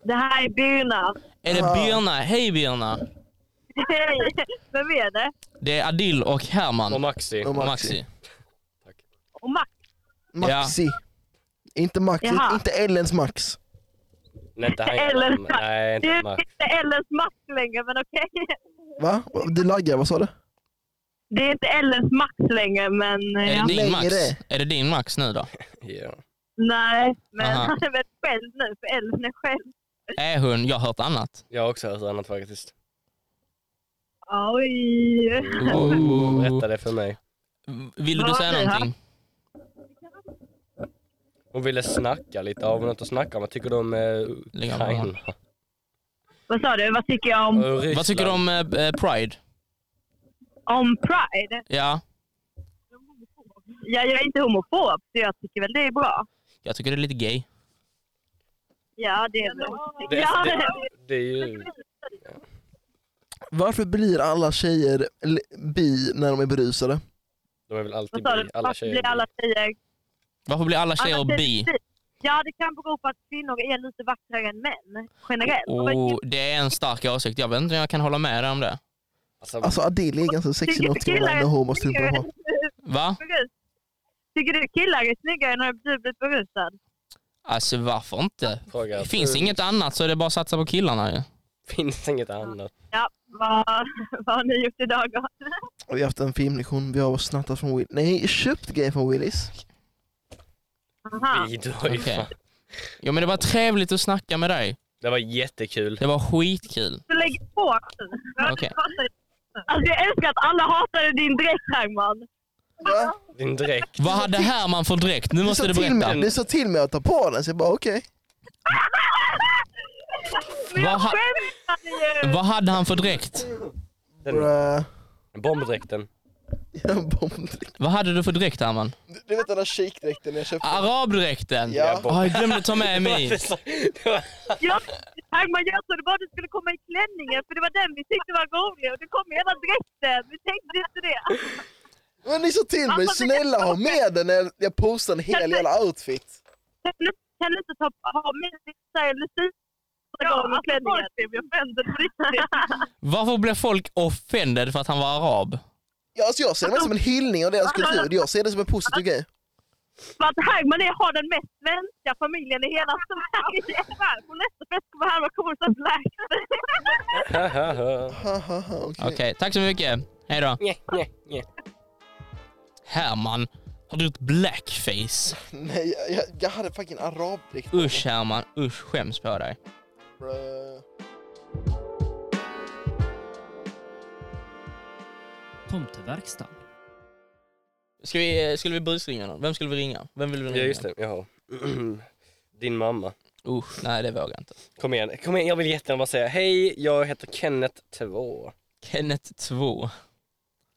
Speaker 6: Det här är Byrna.
Speaker 2: Är det Birna? Hej Birna!
Speaker 6: <laughs> Vem är det?
Speaker 2: Det är Adil och Herman
Speaker 3: Och Maxi.
Speaker 1: Och
Speaker 2: och
Speaker 1: Maxi.
Speaker 2: Maxi.
Speaker 6: Och Max.
Speaker 1: Maxi. Inte Max.
Speaker 6: Jaha.
Speaker 1: Inte Ellens Max.
Speaker 3: Nej, inte han.
Speaker 6: Eller-
Speaker 3: Nej,
Speaker 6: Du
Speaker 3: inte
Speaker 6: är
Speaker 3: Max.
Speaker 6: inte Ellens Max längre, men okej.
Speaker 1: Va? Du laggar, vad sa du?
Speaker 6: Det är inte Ellens Max längre, men... eh,
Speaker 2: Är
Speaker 6: Ja.
Speaker 2: det din
Speaker 1: Längre.
Speaker 2: Max? Är det din Max nu då?
Speaker 3: Ja.
Speaker 6: Nej, men
Speaker 2: Aha.
Speaker 6: han är väl själv nu, för Ellen är själv.
Speaker 2: Är hon? Jag har hört annat.
Speaker 3: Jag har också hört annat faktiskt.
Speaker 6: Oj.
Speaker 3: Mm. Berätta det för mig.
Speaker 2: Ville du
Speaker 6: Vad
Speaker 2: säga
Speaker 6: har vi här?
Speaker 2: någonting?
Speaker 3: Hon ville snacka lite. Har vi något att snacka om? Vad tycker du om eh,
Speaker 2: Lägg av med honom.
Speaker 3: Ukraina?
Speaker 6: Vad sa du? Vad tycker jag om,
Speaker 3: Och Ryssland?
Speaker 2: Vad tycker du om eh, eh, Pride?
Speaker 6: om Pride?
Speaker 2: Ja.
Speaker 6: Ja, jag är inte homofob, så jag tycker väl det är bra.
Speaker 2: Jag tycker det är lite gay.
Speaker 6: Ja, det är bra.
Speaker 3: Det,
Speaker 6: ja,
Speaker 3: det, det är ju...
Speaker 1: Varför blir alla tjejer l- bi när de är berusade?
Speaker 3: De är väl
Speaker 6: vad
Speaker 3: alltid
Speaker 6: sa
Speaker 3: bi,
Speaker 6: du?
Speaker 3: alla
Speaker 6: Varför
Speaker 3: tjejer.
Speaker 6: blir alla tjejer
Speaker 2: Varför blir alla tjejer
Speaker 6: Alla
Speaker 2: bi?
Speaker 6: tjejer- Ja, det kan bero på att kvinnor är lite vackrare än män, generellt.
Speaker 2: Och det är en stark åsikt. Jag vet inte om jag kan hålla med dig om det.
Speaker 3: Alltså,
Speaker 1: Alltså Adele är ganska sexig nog till att vara en homostrumpa de har.
Speaker 2: Va?
Speaker 6: Tycker du killar är snyggare när du blir berusad?
Speaker 2: Alltså varför inte?
Speaker 3: fråga,
Speaker 2: Det finns inget annat så är det bara att satsa på killarna ju.
Speaker 3: <laughs> Finns inget annat.
Speaker 6: Ja, vad, <laughs> vad har ni gjort idag? då?
Speaker 1: Vi har haft en filmlektion, vi har snattat från Willys. Nej, köpt grejer från Willys.
Speaker 6: Aha.
Speaker 3: Vi, du har ju
Speaker 2: Okej.
Speaker 3: fan.
Speaker 2: Jo men det var trevligt att snacka med dig.
Speaker 3: Det var jättekul.
Speaker 2: Det var skitkul.
Speaker 6: Så lägg på nu.
Speaker 2: Okej.
Speaker 6: Alltså, jag älskar att alla hatade din dräkt, Herman.
Speaker 3: Din dräkt.
Speaker 2: Vad hade Herman för dräkt? Nu måste
Speaker 1: sa
Speaker 2: du
Speaker 1: till
Speaker 2: berätta.
Speaker 1: mig, du sa till mig att ta på den, så jag bara okej.
Speaker 6: Men jag
Speaker 2: Vad ha-
Speaker 6: skämtar ju!
Speaker 2: Vad hade han för dräkt?
Speaker 3: Den,
Speaker 1: Brä.
Speaker 3: bombdräkten.
Speaker 1: Jag har en bombdräkt.
Speaker 2: Vad hade du för dräkt Herman?
Speaker 1: Du- Du vet den där shakedräkten jag
Speaker 2: Ah.
Speaker 1: köpte?
Speaker 2: Arabdräkten?
Speaker 1: Ja.
Speaker 2: Ah, jag glömde ta med
Speaker 3: <laughs>
Speaker 2: mig.
Speaker 3: Det var-
Speaker 6: Jag, Herman, jag trodde bara du skulle komma i klänningen, för det var den vi tyckte var rolig. Och du kom i hela dräkten. Vi tänkte inte det.
Speaker 1: Men ni sa till mig, snälla ha med den när jag postar en hel jävla outfit.
Speaker 6: Kan du, kan du inte ta, ha med dig såhär Lucia? Ja, alltså folk blev ju offended på riktigt.
Speaker 2: Varför blev folk offended för att han var arab?
Speaker 1: Ja, alltså jag ser det mest som en hyllning av deras <laughs> kultur, jag ser det som en positiv grej.
Speaker 6: <laughs> För att Herman är, har den mest svenska familjen i hela Sverige. På nästa fest kommer Herman kommer som <laughs> black.
Speaker 1: Hahaha, okej.
Speaker 2: Okej, tack så mycket. Hej då.
Speaker 3: Nje, nje, nje.
Speaker 2: Herman, har du gjort blackface?
Speaker 1: Nej, jag- jag, jag hade fucking arabdräkt. på mig,
Speaker 2: Usch Herman, usch skäms på dig.
Speaker 1: brö.
Speaker 8: Tomteverkstan.
Speaker 2: Ska vi, skulle vi busringa någon? Vem skulle vi ringa? Vem vill vi
Speaker 3: Ja
Speaker 2: ringa?
Speaker 3: just det, jaha. <clears throat> Din mamma.
Speaker 2: Usch, nej det vågar jag inte.
Speaker 3: Kom igen, kom igen, jag vill jättegärna bara säga hej, jag heter Kenneth 2.
Speaker 2: Kenneth 2.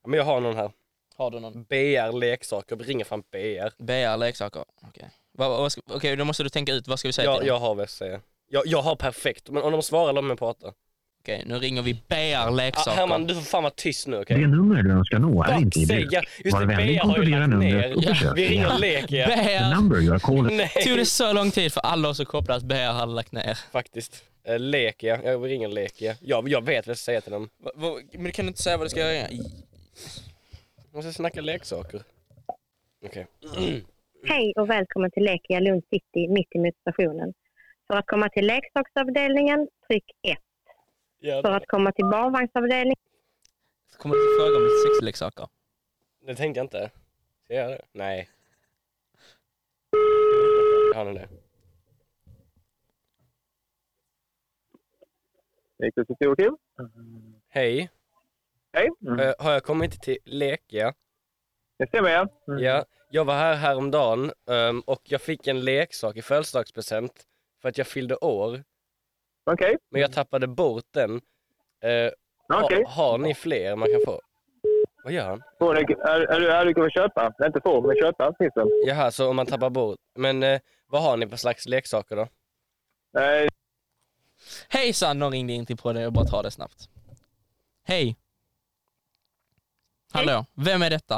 Speaker 3: Men jag har någon här.
Speaker 2: Har du någon?
Speaker 3: BR leksaker, vi ringer fram BR.
Speaker 2: BR leksaker. Okej, Vad- vad ska- okej, då måste du tänka ut. Vad ska vi säga
Speaker 3: Jag,
Speaker 2: till dem?
Speaker 3: jag har vad jag ska säga. Jag, jag har perfekt, men om de svarar låt mig prata.
Speaker 2: Okej, nu ringer vi BR
Speaker 3: Ah,
Speaker 2: leksaker.
Speaker 3: Herman, du får fan vara tyst nu okej?
Speaker 9: Det nummer du önskar nå är inte i bruk.
Speaker 3: Säga. Just
Speaker 9: Var
Speaker 3: det,
Speaker 9: vänlig
Speaker 3: BR har ju
Speaker 9: kontrollera
Speaker 3: lagt
Speaker 9: numret och
Speaker 2: Ja,
Speaker 3: ner.
Speaker 9: försök
Speaker 3: Vi
Speaker 9: igen.
Speaker 3: ringer lek ja.
Speaker 9: The
Speaker 2: BR!
Speaker 9: number you are calling
Speaker 3: Nej,
Speaker 2: Tog det så lång tid för alla oss att koppla att BR hade lagt ner?
Speaker 3: faktiskt. Eh, Lek ja, jag ringer lek ja. Jag, jag vet vad jag ska säga till dem.
Speaker 2: Men du kan inte säga vad du ska göra?
Speaker 3: Jag måste snacka leksaker. Okej.
Speaker 10: Hej och välkommen till Lekia Lund City mitt emot stationen. För att komma till leksaksavdelningen, tryck 1. För
Speaker 3: Ja,
Speaker 10: att komma till barnvagnsavdelningen,
Speaker 2: Kommer du fråga om lite sexleksaker?
Speaker 3: det tänkte jag inte. Ska jag göra det? Nej. Har ni det?
Speaker 7: Gick det så stor kul?
Speaker 3: Hej,
Speaker 7: Hej. Mm.
Speaker 3: eh, har jag kommit till lek ja?
Speaker 7: Det stämmer ja. Mm.
Speaker 3: Ja, jag var här häromdagen ehm, och jag fick en leksak i födelsedagspresent för att jag fyllde år.
Speaker 7: Okej.
Speaker 3: Men jag tappade bort den. Eh, har,
Speaker 7: Okej.
Speaker 3: har ni fler man kan få? Vad gör han?
Speaker 7: Får du- Är, är, du- är du kommer köpa? Nej, inte får, men köpa finns det.
Speaker 3: Jaha, så om man tappar bort. Men eh, vad har ni för slags leksaker då?
Speaker 7: Eh,
Speaker 2: Hejsan, någon ringde in till podden. Jag bara tar det snabbt. Hej. Hallå, vem är detta?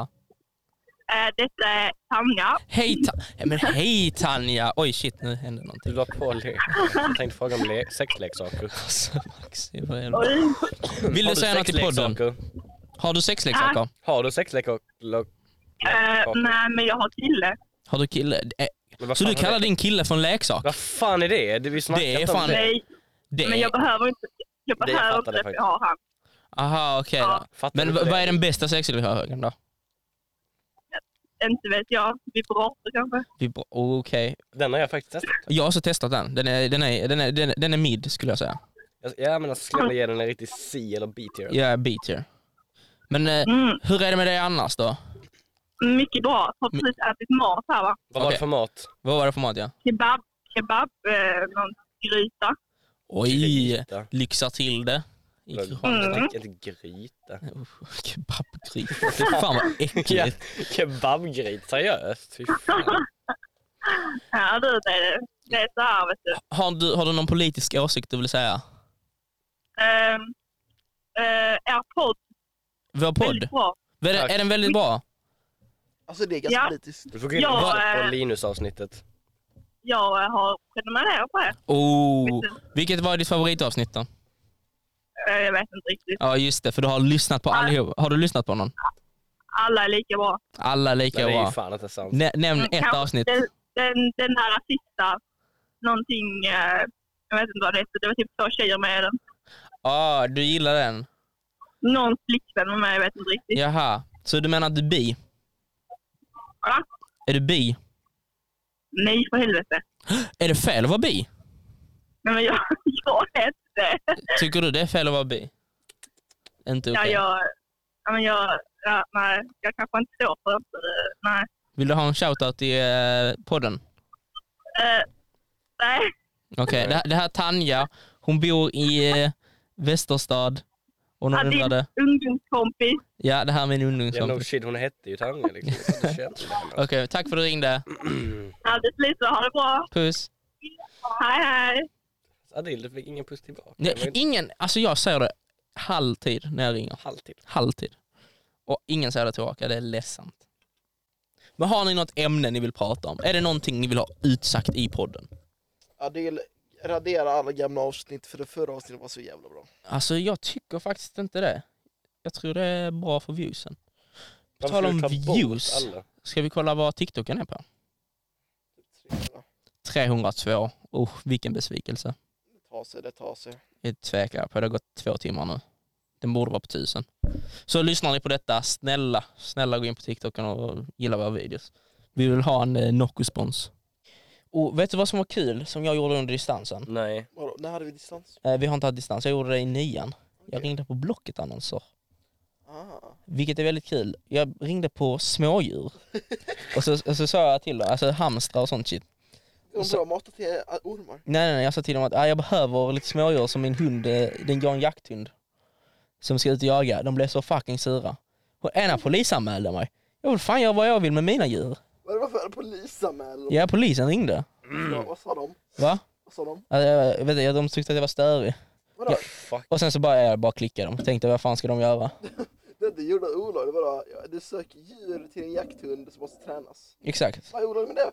Speaker 6: Eh, Detta är Tanja.
Speaker 2: Hej ta- Ja, men hej Tanja! Oj shit, nu hände någonting.
Speaker 3: Du la på lek. Jag tänkte fråga om le-
Speaker 2: <laughs>
Speaker 3: sexleksaker.
Speaker 2: Alltså, Max, det var jävla-
Speaker 6: Oj.
Speaker 2: Vill
Speaker 3: Har
Speaker 2: du säga något till podden?
Speaker 3: sexleksaker?
Speaker 2: Har du sexleksaker?
Speaker 3: Har du sexleksaker?
Speaker 6: Eh, Nej, men jag har kille.
Speaker 2: Har du kille? Eh,
Speaker 3: Men vad
Speaker 2: Så
Speaker 3: fan
Speaker 2: du
Speaker 3: är
Speaker 2: kallar
Speaker 3: det?
Speaker 2: din kille för en leksak?
Speaker 3: Vad fan är det? Det- Vi snackar
Speaker 2: Det är
Speaker 3: inte om
Speaker 2: fan-
Speaker 3: det.
Speaker 6: Nej,
Speaker 2: Det
Speaker 6: men jag
Speaker 2: är...
Speaker 6: behöver inte. Jag
Speaker 3: Det
Speaker 6: behöver
Speaker 3: fattar
Speaker 6: inte
Speaker 3: jag
Speaker 6: att jag har han.
Speaker 2: Aha, okej då.
Speaker 3: Fattar
Speaker 2: Men
Speaker 3: du
Speaker 2: v-
Speaker 3: inte
Speaker 2: vad
Speaker 3: det?
Speaker 2: är den bästa sexleksaken då?
Speaker 6: Inte vet jag. Vibrator kanske.
Speaker 2: Vi bara, Okej.
Speaker 3: Den har jag faktiskt testat.
Speaker 2: Jag har också testat den. Den är, den är, den är, den är, den är mid skulle jag säga.
Speaker 3: Jag- Ja men alltså, skulle jag ge den en riktig C eller B tier.
Speaker 2: Jag är beater. Men eh,
Speaker 6: Mm,
Speaker 2: hur är det med dig annars då?
Speaker 6: mycket bra. Har precis ätit mat här va.
Speaker 3: Vad var det
Speaker 2: Okej.
Speaker 3: för mat?
Speaker 2: Vad var det för mat ja?
Speaker 6: Kebab. Kebab. Eh, någon gryta.
Speaker 2: Oj!
Speaker 3: Gryta.
Speaker 2: Lyxar till det. I Kristianstad.
Speaker 3: Mm. Inte gryta.
Speaker 6: Mm.
Speaker 2: Usch, Kebabgryta. Fy fan vad äckligt.
Speaker 3: Kebabgryta, seriöst? Fy fan.
Speaker 6: Ja du, det är, det är så här vet du.
Speaker 2: Har du, har du någon politisk åsikt du vill säga?
Speaker 6: Ehm, eh, er podd,
Speaker 2: Vår podd?
Speaker 6: väldigt bra.
Speaker 2: Är, den- är den väldigt bra?
Speaker 1: Alltså det är
Speaker 6: ganska Ja.
Speaker 1: politiskt.
Speaker 3: Du får gå in
Speaker 6: Ja,
Speaker 3: och lyssna på
Speaker 6: eh.
Speaker 3: Linus-avsnittet.
Speaker 6: Jag eh, har prenumererat på er.
Speaker 2: Oh. Vilket var ditt favoritavsnitt då?
Speaker 6: Eh, Jag vet inte riktigt.
Speaker 2: Ja just det, för du har lyssnat på allihop. Har du lyssnat på någon?
Speaker 6: Alla är lika bra.
Speaker 2: Alla är lika
Speaker 3: Nej, det är
Speaker 2: bra.
Speaker 3: ju fan inte sant.
Speaker 2: Nä, nämn
Speaker 6: Mm,
Speaker 2: ett
Speaker 6: kanske
Speaker 2: avsnitt.
Speaker 6: Den, den, den här sista, någonting, eh, jag vet inte vad det hette, det var typ två tjejer med i den.
Speaker 2: Ah, du gillar den?
Speaker 6: Någons flickvän var med, jag vet inte riktigt.
Speaker 2: Jaha. Så du menar att du är bi?
Speaker 6: Ja.
Speaker 2: Är du bi?
Speaker 6: Nej, för helvete.
Speaker 2: Är det fel att vara bi?
Speaker 6: Nej, men jag, <laughs> jag är inte det.
Speaker 2: Tycker du det är fel att vara bi? Inte okej.
Speaker 6: Ja, jag, ja, men jag, ja, nej, jag kanske inte står för det. så det- Nej.
Speaker 2: Vill du ha en shoutout i eh, podden?
Speaker 6: Eh, nej,
Speaker 2: Okej, det, här- det här är Tanja. Hon bor i eh, Västerstad. Och någon
Speaker 6: Ja, din-
Speaker 2: undrade.
Speaker 6: ungdomskompis.
Speaker 2: Ja, det här är min
Speaker 3: Ja, no
Speaker 2: ungdomskompis.
Speaker 3: shit, hon hette ju Tanja liksom. Jag hade känt henne.
Speaker 2: Okej, tack för att du ringde.
Speaker 6: Ja, det slutar. Ha det bra.
Speaker 2: Puss.
Speaker 6: Hej, hej.
Speaker 3: Adil, du fick ingen puss tillbaka.
Speaker 2: Nej,
Speaker 3: Det var inte
Speaker 2: ingen, alltså jag säger det halvtid när jag ringer.
Speaker 3: halvtid.
Speaker 2: Halvtid. Och ingen säger det tillbaka, det är ledsamt. Men har ni något ämne ni vill prata om? Är det någonting ni vill ha utsagt i podden?
Speaker 1: Adil, radera alla gamla avsnitt för det förra avsnittet var så jävla bra.
Speaker 2: Alltså jag tycker faktiskt inte det. Jag tror det är bra för viewsen. På
Speaker 3: Varför
Speaker 2: tal
Speaker 3: ska
Speaker 2: om
Speaker 3: du ta bort
Speaker 2: views,
Speaker 3: alla?
Speaker 2: ska vi kolla vad TikToken är på? 302. Oh, vilken besvikelse.
Speaker 1: Det tar sig, det tar sig.
Speaker 2: Jag tvekar på, det har gått två timmar nu. Den borde vara på tusen. Så lyssnar ni på detta, snälla, snälla gå in på TikToken och gilla våra videos. Vi vill ha en eh, Nocco-spons. Och vet du vad som var kul, som jag gjorde under distansen?
Speaker 3: Nej.
Speaker 1: Vadå, när hade vi distans?
Speaker 2: Eh, vi har inte haft distans, jag gjorde det i nian. Jag ringde på Blocket-annonser.
Speaker 1: Ah.
Speaker 2: Vilket är väldigt kul. Jag ringde på smådjur. och, så, och så sa jag till dem, alltså hamstrar och sånt shit.
Speaker 1: Det var
Speaker 2: Så-
Speaker 1: bra mat till eh, ormar.
Speaker 2: Nej, nej, nej jag sa till dem att ah, jag behöver lite smådjur som min hund, eh, den går en jakthund. Som ska ut och jaga. De blev så fucking sura. Och ena polisanmälde mig. Jag vill fan göra vad jag vill med mina djur.
Speaker 1: Vad var det polisanmälan? Mm.
Speaker 2: Ja, polisen ringde.
Speaker 3: Mm.
Speaker 1: Ja, vad sa de?
Speaker 2: Va?
Speaker 1: Vad sa de?
Speaker 2: Alltså, jag, vet inte, de tyckte att jag var störig.
Speaker 1: Vadå?
Speaker 2: Ja.
Speaker 3: Fuck.
Speaker 2: Och sen så bara, jag bara klickade dem. Tänkte vad fan ska de göra?
Speaker 1: Det är inte gjorde olagligt, vadå? Ja, Du söker djur till en jakthund som måste tränas.
Speaker 2: Exakt.
Speaker 1: Vad är olagligt med det?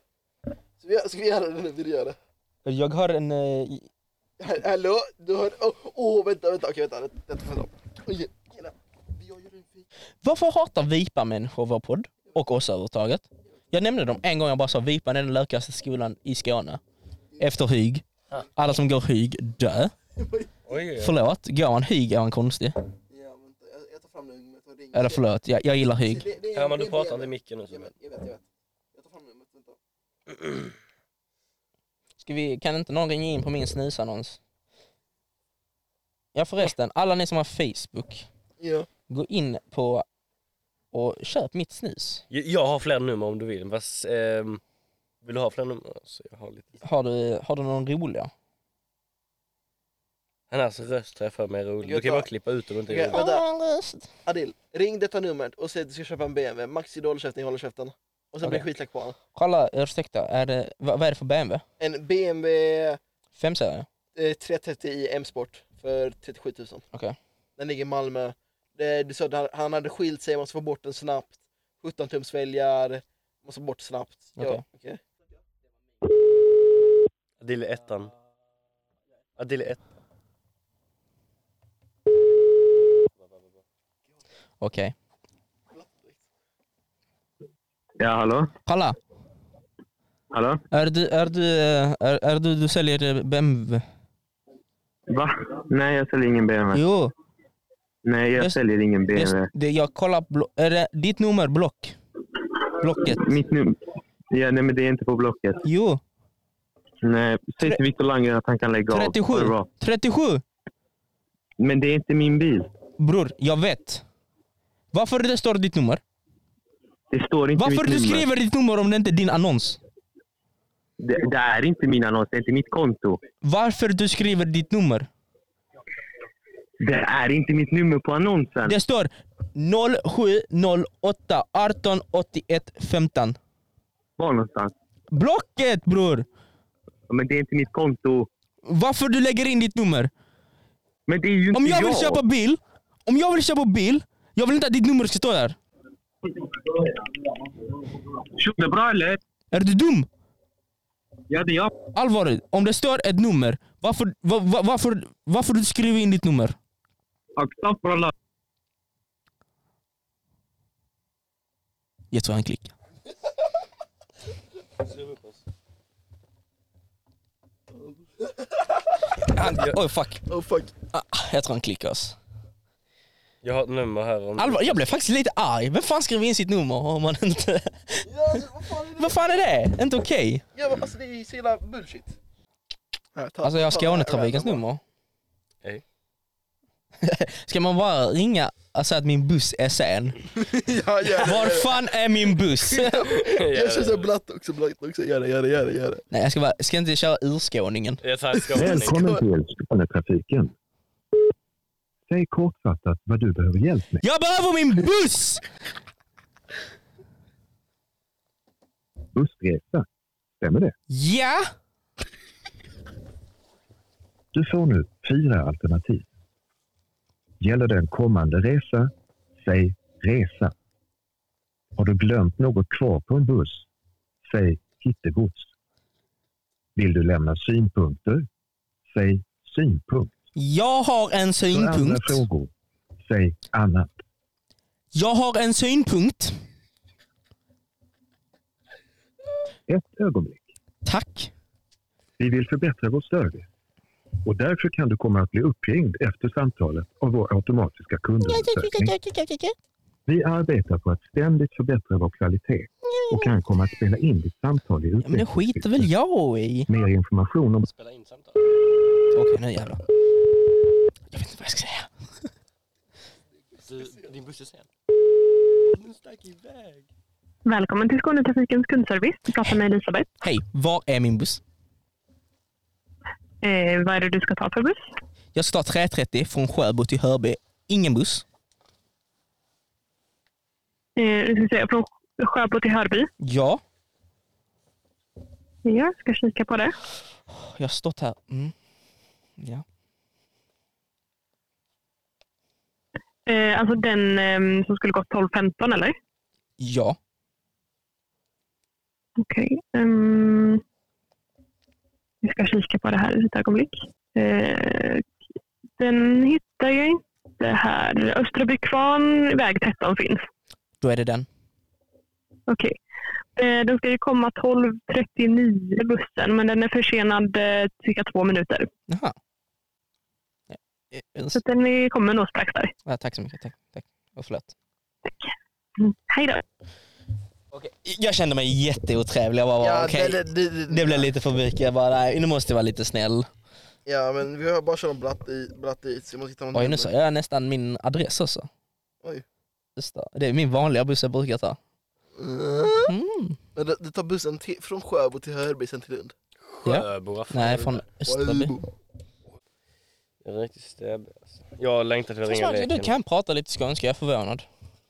Speaker 1: Ska vi, ska vi göra det nu? Vill du göra det?
Speaker 2: Jag har en... eh,
Speaker 1: Hall- Hallå? Du hör... Åh, oh, vänta, vänta, okej vänta. Det- Detta får jag ta. Oj, tjena. Jag gör en fik.
Speaker 2: Varför hatar vipa-människor vår podd? Och oss överhuvudtaget? Jag nämnde dem en gång, jag bara sa vipan är den lökigaste skolan i Skåne. Efter Hyg. Alla som går Hyg, dö.
Speaker 3: Oj, oj, oj.
Speaker 2: Förlåt, går man Hyg är man konstig.
Speaker 1: Ja, vänta. Jag, jag tar fram numret och ringer.
Speaker 2: Eller förlåt, jag, jag gillar Hyg.
Speaker 1: Det- det-
Speaker 3: Herman, du
Speaker 1: det-
Speaker 3: pratar
Speaker 1: det-
Speaker 3: inte i micken nu.
Speaker 1: Jag vet, jag vet. jag vet. Jag tar fram numret, vänta.
Speaker 2: Ska vi, kan inte någon ringa in på min snusannons? Ja förresten, alla ni som har Facebook,
Speaker 1: Ja.
Speaker 2: gå in på och köp mitt snus.
Speaker 3: Jag- Jag har fler nummer om du vill. Fast, ehm, vill du ha fler nummer? Så jag har lite...
Speaker 2: Har du, har du någon roliga?
Speaker 3: Hennes röst har jag för mig är rolig. Du kan ju bara klippa ut om du inte
Speaker 1: Okej,
Speaker 3: är rolig.
Speaker 1: vänta. Adil, ring detta numret och säg att du ska köpa en BMW. Maxi, du håller käften, jag håller käften. Och sen blir
Speaker 2: Okej.
Speaker 1: det skitlack på honom.
Speaker 2: Kolla, ursäkta, är det, vad, vad är det för BMW?
Speaker 1: En BMW
Speaker 2: 5 serie?
Speaker 1: eh, 330 i M-sport för 37 000.
Speaker 2: Okej.
Speaker 1: Den ligger i Malmö. Det, du sa att han- han hade skilt sig, man måste få bort den snabbt. 17 tums väljar, måste få bort snabbt.
Speaker 2: Okej.
Speaker 1: Ja, okej.
Speaker 3: Adil är ettan. Adil är ettan.
Speaker 2: Okej.
Speaker 7: Ja, hallå?
Speaker 2: Kolla!
Speaker 7: Hallå?
Speaker 2: Är du, är du, eh, är, är du, du säljer eh, BMW?
Speaker 7: Va? Nej, jag säljer ingen BMW.
Speaker 2: Jo,
Speaker 7: Nej, jag
Speaker 2: Just-
Speaker 7: säljer ingen
Speaker 2: just
Speaker 7: BMW.
Speaker 2: det, jag kollar, blo- är det ditt nummer Block? Blocket?
Speaker 7: Mitt nu... Ja, nej, men det är inte på Blocket.
Speaker 2: Jo,
Speaker 7: Nej, säg till Victor Landgren att han kan lägga av. Ha det
Speaker 2: 37!
Speaker 7: bra.
Speaker 2: 37!
Speaker 7: Men det är inte min bil.
Speaker 2: Bror, jag vet. Varför det står ditt nummer?
Speaker 7: Det står inte
Speaker 2: Varför
Speaker 7: mitt
Speaker 2: du
Speaker 7: nummer.
Speaker 2: skriver ditt nummer om det inte är din annons?
Speaker 7: Det, det är inte min annons. Det är inte mitt konto.
Speaker 2: Varför du skriver ditt nummer?
Speaker 7: Det är inte mitt nummer på annonsen.
Speaker 2: Det står 0708 18 81 15.
Speaker 7: Var någonstans?
Speaker 2: Blocket bror!
Speaker 11: Men det är inte mitt konto.
Speaker 2: Varför du lägger in ditt nummer?
Speaker 11: Men det är ju inte
Speaker 2: Om jag vill köpa bil, om jag vill köpa bil, jag vill inte att ditt nummer ska stå där.
Speaker 11: Tjo, det är bra eller?
Speaker 2: Är du dum?
Speaker 11: Ja, det är jag.
Speaker 2: Allvarligt, om det står ett nummer, varför, va, va, varför, varför du skriver in ditt nummer?
Speaker 11: Aktafrallah.
Speaker 2: Jag tror han klickar. Han, oh fuck.
Speaker 1: Oh fuck.
Speaker 2: Ah, Jag tror han klickar oss.
Speaker 3: Jag har ett nummer här. Om... <laughs>
Speaker 2: Allvar, jag blev faktiskt lite arg. Vem fan skriver in sitt nummer om man inte...
Speaker 1: Ja, alltså, vad fan är det?
Speaker 2: Vad fan är det? Inte okej.
Speaker 1: Ja, men alltså det är ju så jävla bullshit. Här, ta-
Speaker 2: Alltså jag har
Speaker 1: ta det här
Speaker 2: Skånetrafikens
Speaker 1: random.
Speaker 2: nummer.
Speaker 3: Hej.
Speaker 2: <laughs> Ska man bara ringa och säga att min buss är sen?
Speaker 1: Ja, gör det,
Speaker 2: Var
Speaker 1: gör det.
Speaker 2: fan är min <laughs> buss?
Speaker 1: Jag kör så blatt också, blatt också. Gör det, gör det, gör det. Gör det.
Speaker 2: Nej jag ska, bara, ska inte köra urskåningen.
Speaker 3: Jag tar skåning.
Speaker 7: Välkommen till Skånetrafiken. Säg kortfattat vad du behöver hjälp med.
Speaker 2: Jag behöver min buss!
Speaker 7: Bussresa. Stämmer det?
Speaker 2: Ja!
Speaker 7: Du får nu fyra alternativ. Gäller det en kommande resa, säg resa. Har du glömt något kvar på en buss, säg hittegods. Vill du lämna synpunkter, säg synpunkt.
Speaker 2: Jag har en
Speaker 7: För andra
Speaker 2: synpunkt.
Speaker 7: frågor, säg annat.
Speaker 2: Jag har en synpunkt.
Speaker 7: Ett ögonblick.
Speaker 2: Tack.
Speaker 7: Vi vill förbättra vår service. Och därför kan du komma att bli uppringd efter samtalet av vår automatiska kundundersökning. Vi arbetar på att ständigt förbättra vår kvalitet och kan komma att spela in ditt samtal i
Speaker 2: Ja, men det skiter väl
Speaker 7: utvecklingssyfte.
Speaker 2: jag i.
Speaker 7: Mer information om
Speaker 3: Spela in samtal.
Speaker 2: Okej nu jävlar. Jag vet inte vad jag ska säga.
Speaker 3: Du, din buss är sen. Den stack iväg.
Speaker 6: Välkommen till Skånetrafikens kundservice. Du pratar med Elisabeth.
Speaker 2: Hej, var är min buss?
Speaker 6: Eh, vad är det du ska ta för buss?
Speaker 2: Jag ska ta 3.30 från Sjöbo till Hörby. Ingen buss.
Speaker 6: Eh, ska se, från Sjöbo till Hörby.
Speaker 2: Ja,
Speaker 6: Ja, ska kika på det.
Speaker 2: jag har stått här. Mm. Ja.
Speaker 6: Eh, alltså den ehm, som skulle gått 12.15 eller?
Speaker 2: ja.
Speaker 6: Okej. ehm, vi ska kika på det här i ett ögonblick. Eh, den hittar jag inte här. Östra Bykvarn, väg 13 finns.
Speaker 2: Då är det den.
Speaker 6: Okej. Eh, den ska ju komma 12.39 bussen men den är försenad eh, cirka två minuter.
Speaker 2: Jaha. Ja, eh,
Speaker 6: Så
Speaker 2: ursäkta.
Speaker 6: att den är- kommer nog strax där.
Speaker 2: Ja, tack så mycket. Tack. tack. Och förlåt.
Speaker 6: Mm. Hej då.
Speaker 2: Okej, Jag kände mig jätteotrevlig. Jag bara,
Speaker 1: Ja,
Speaker 2: bara, okej.
Speaker 1: det, det, det,
Speaker 2: Det blev lite för mycket. Jag bara, nej, nu måste jag vara lite snäll.
Speaker 1: Ja, men vi har bara kört en blatt, i, blatt dit, så jag måste hitta någon
Speaker 2: Oj, nu sa jag nästan min adress också.
Speaker 1: Oj.
Speaker 2: Just det. Det är min vanliga buss jag brukar ta. Mm.
Speaker 1: Men du, du tar bussen till, från Sjöbo till Hörby, sen till Lund.
Speaker 3: Sjöbo, varför är
Speaker 2: Nej,
Speaker 3: du
Speaker 2: från
Speaker 3: där?
Speaker 2: Österby.
Speaker 1: <laughs>
Speaker 3: Jag är riktigt stäbbig alltså. Jag längtar till att ringa
Speaker 2: Fast, Du
Speaker 3: leken.
Speaker 2: kan prata lite skånska, jag är förvånad.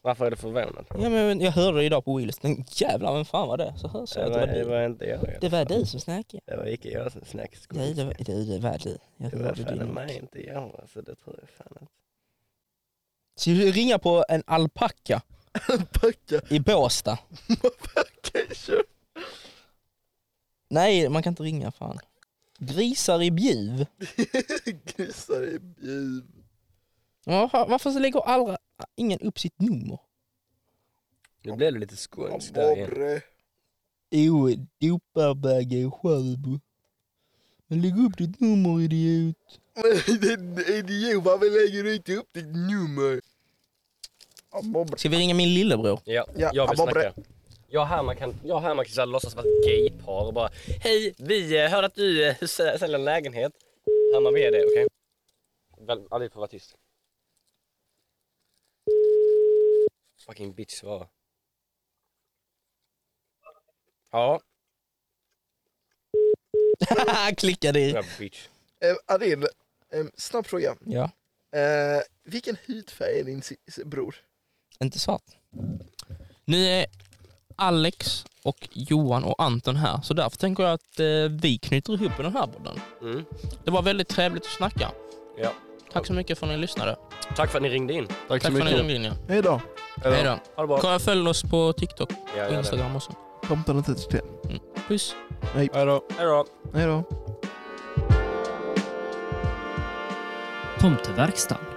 Speaker 3: Varför är du förvånad?
Speaker 2: Ja, men jag hörde det idag på Willys. Men Jävlar, vem fan var det? Så hör så
Speaker 3: Det
Speaker 2: att det var
Speaker 3: var, det
Speaker 2: du.
Speaker 3: var inte jag.
Speaker 2: Det var du som snackade.
Speaker 3: Det var icke jag som snackade
Speaker 2: Nej, det var,
Speaker 3: skånska.
Speaker 2: det, det var du. Jag
Speaker 3: Det
Speaker 2: hörde
Speaker 3: var fan
Speaker 2: din
Speaker 3: mig inte jag alltså. Det tror jag fan inte.
Speaker 2: Ska du ringa på en alpacka
Speaker 1: Packa,
Speaker 2: i Båstad?
Speaker 1: packa, kör.
Speaker 2: Nej, man kan inte ringa fan. Grisar i Bjuv?
Speaker 1: Grisar i <laughs> bjuv.
Speaker 2: Ja, fa- Varför så lägger alla, ingen upp sitt nummer?
Speaker 3: Nu blev det lite skånskt där igen.
Speaker 1: Abborre.
Speaker 2: Jo, doparbagge i Sjöbo. Men lägg upp ditt nummer idiot.
Speaker 1: Men idiot, varför lägger du inte upp ditt nummer? Abborre.
Speaker 2: Ska vi ringa min lillebror?
Speaker 3: Ja,
Speaker 1: Ja,
Speaker 3: jag vill
Speaker 1: abborre.
Speaker 3: snacka. Jag och Herman kan, jag och Herman kan så här låtsas vara ett gaypar och bara Hej, vi eh, hörde att du eh, sä- säljer en lägenhet. Herman, vi är det, okej? Väl, Alif får vara tyst. Fucking bitch svara. Ja,
Speaker 2: <laughs> Klicka dig.
Speaker 3: jag bitch.
Speaker 1: Eh, Adil, eh, snabb fråga.
Speaker 2: Ja,
Speaker 1: Eh, vilken hudfärg är din si- si- bror?
Speaker 2: inte svart. Nu är Alex och Johan och Anton här, så därför tänker jag att eh, vi knyter ihop den här podden.
Speaker 3: Mm.
Speaker 2: Det var väldigt trevligt att snacka.
Speaker 3: Ja.
Speaker 2: Tack så mycket för att ni lyssnade.
Speaker 3: Tack för att ni ringde in.
Speaker 2: Tack, för att ni ringde in. ja.
Speaker 1: Hej då.
Speaker 2: Hej då.
Speaker 3: Ha det bra.
Speaker 2: Kolla, Följ oss på TikTok
Speaker 3: Ja,
Speaker 2: och
Speaker 3: gör det.
Speaker 2: Instagram också.
Speaker 1: Tomten har inte till.
Speaker 2: Puss.
Speaker 1: Hej då.
Speaker 3: Hej då.
Speaker 1: Hej då.
Speaker 8: Tomteverkstan.